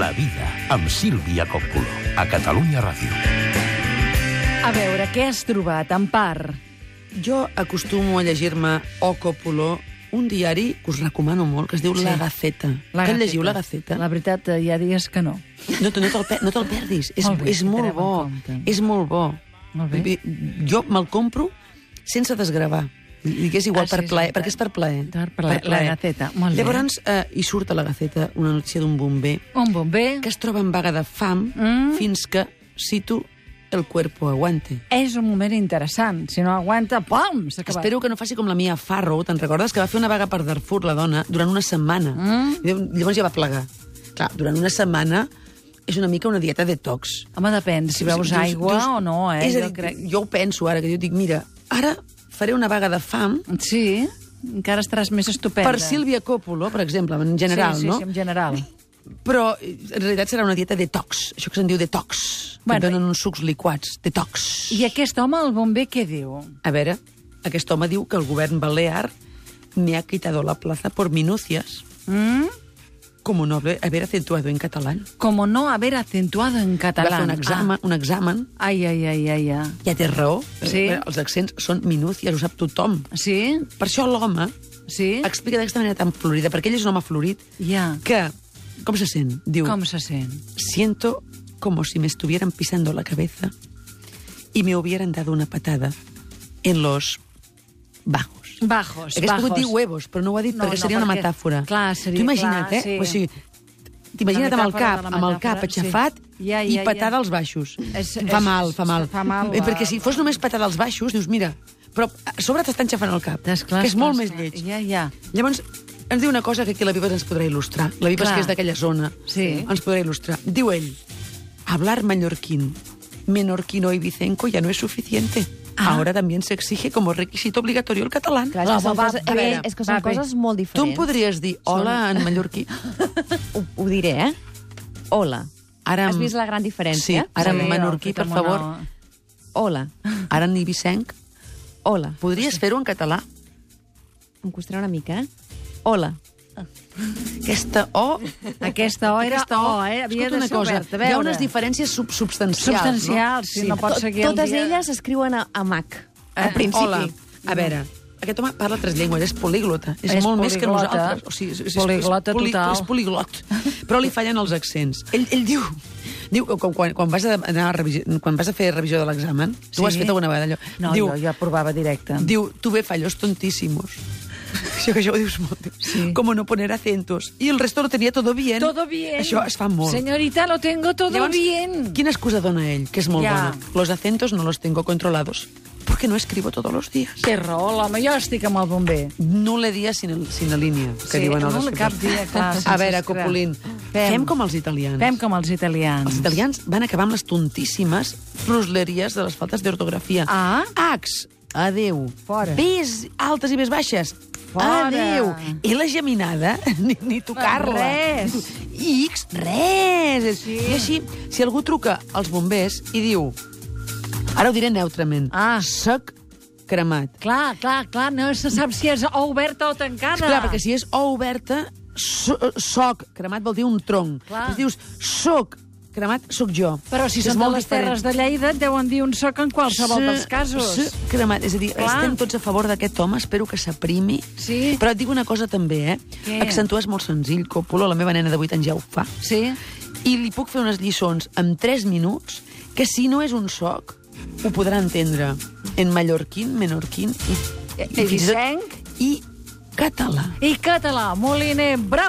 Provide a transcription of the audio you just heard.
La vida amb Sílvia Coppolo, a Catalunya Ràdio. A veure, què has trobat, en part? Jo acostumo a llegir-me O Còpolo, un diari que us recomano molt, que es diu sí. La Gaceta. La que llegiu La Gaceta? La veritat, eh, hi ha dies que no. No, te- no te'l pe- no te perdis, és, Molt bé, és ho molt tindrem en bo. compte. És molt bo. Molt bé. Vull dir, Jo me'l compro sense desgravar. I que és igual Ah, ah, per sí, és plaer, veritat. perquè és per plaer. Per plaer, La Gaceta, molt bé. Llavors, eh, hi surt a la Gaceta una notícia d'un bomber Un bomber que es troba en vaga de fam Mm. mm. fins que, cito, el cuerpo aguante. és un moment interessant. Si no aguanta, pam, s'acaba. Espero que no faci com la Mia Farrow, te'n recordes? Que va fer una vaga per Darfur, la dona, durant una setmana. Mm. Llavors ja va plegar. Clar, durant una setmana és una mica una dieta detox. Home, depèn, si veus Dius- aigua dius- o no, eh? És a dir, jo, crec... jo ho penso ara, que jo dic, mira, ara faré una vaga de fam Sí, encara estaràs més estupenda. per Sílvia Coppolo, per exemple, en general, sí, sí, no? Sí, en general. Però eh, en realitat serà una dieta detox, això que se'n diu detox. Bueno, Bueno, que et donen uns sucs liquats, detox. I aquest home, el bomber, què diu? A veure, aquest home diu que el govern balear me ha quitado la plaza por minucias, Mm? como no haber haber acentuado en catalán. Como no haber acentuado en Va català. fer un examen, ah. un examen, Ah. Ai, ai, ai, ai, ai. ja té raó. Sí. Eh, Els accents són minúcies, ho sap tothom. Sí? Per això l'home Sí? explica d'aquesta manera tan florida, perquè ell és un home florit, Ja. que, com se sent? Diu, Com se sent? siento como si me estuvieran pisando la cabeza y me hubieran dado una patada en los bajos. Bajos, Hauria bajos. pogut dir huevos, però no ho ha dit No, no, perquè no, seria una perquè- metàfora. clar, seria- Tu imagina't, clar, eh? sí. O sigui, t'imagina't La amb el metàfora cap, de la amb el metàfora, cap aixafat sí. Ja, ja, i patada ja. als baixos. És- fa és- mal, fa mal. fa mal, Eh, va, perquè si fos només patada als baixos, dius, mira, però a sobre t'està enxafant el cap, Esclar, que és molt esclar, més lleig. Ja, ja. Llavors, ens diu una cosa que aquí la Vives ens podrà il·lustrar. La Vives, Clar. que és d'aquella zona, Sí. ens podrà il·lustrar. Diu ell, hablar mallorquín, menorquino y vicenco ya no es suficiente. Ah. Ahora también se exige como requisito obligatorio el catalán. Clar, és Va, que són, va coses, a bé, veure, és que són va bé. coses molt Tu em diferents. podries dir hola en mallorquí? Ho, ho diré, eh? Hola. Ara, Has en- vist la gran Sí, diferència? ara en Sí, menorquí, ho ha per fet amb favor. una- Hola. Ara en ibicenc. Hola. Podries fer-ho en català? Em costarà una mica, eh? Hola. Aquesta O... Aquesta O era aquesta O, eh? Havia Escolta de una ser cosa, oberta. A hi ha veure. unes diferències sub substancials, Substancials, no? si no pots To- seguir el Totes dia. elles escriuen a, a Mac, Eh, al principi. Hola. A veure, aquest home parla tres llengües, és políglota. És, És molt més que poliglota. nosaltres. O sigui, és, és, Poliglota és, poli- total. És poliglot. Però li fallen els accents. Ell, ell diu... Diu que quan, quan, vas a anar a revisió, quan vas a fer revisió de l'examen, tu ho has Sí. fet alguna vegada, allò. No, diu, jo, jo provava directe. Diu, tuve fallos tontísimos. Això que això ho dius molt. Sí. Sí. Como no poner acentos. I el resto lo tenía todo bien. Todo bien. Això es fa molt. Señorita, lo tengo todo bien. Quina excusa dona ell, que és molt Ja. bona? Los acentos no los tengo controlados porque no escribo todos los días. Té raó, l'home, jo estic amb el bomber. Nule dia sin, el, sin la línia, Sí, que diuen els nul escriptors. cap dia, clar, A sense veure, escra- Copulín, Fem. fem. fem com els italians. Fem com els Doncs. Els italians. italians van acabar amb les tontíssimes prosleries de les faltes d'ortografia. Ah. Ax, adeu. Fora. Bs, altes i més baixes. Fora. Adeu. I la geminada, ni, ni tocar-la. Res. I X, res. Sí. I així, si algú truca als bombers i diu... Ara ho diré neutrament. Ah. Soc cremat. Clar, clar, clar, no se sap si és o oberta o tancada. Esclar, perquè si és O oberta, so, eh, soc cremat vol dir un tronc. Clar. Però si dius soc cremat, sóc jo. Però si És són de molt les diferent. terres de Lleida, et deuen dir un soc en qualsevol Sí, dels casos. sí, cremat. És a dir, Clar. estem tots a favor d'aquest home, espero que s'aprimi. Sí. Però et dic una cosa també, eh? Què? Accentuar és molt senzill, Coppola, la meva nena de 8 anys ja ho fa. Sí? I li puc fer unes lliçons en 3 minuts que si no és un soc, ho podrà entendre en mallorquín, menorquín i, I vicenc. i català. I català, moliner, bravo!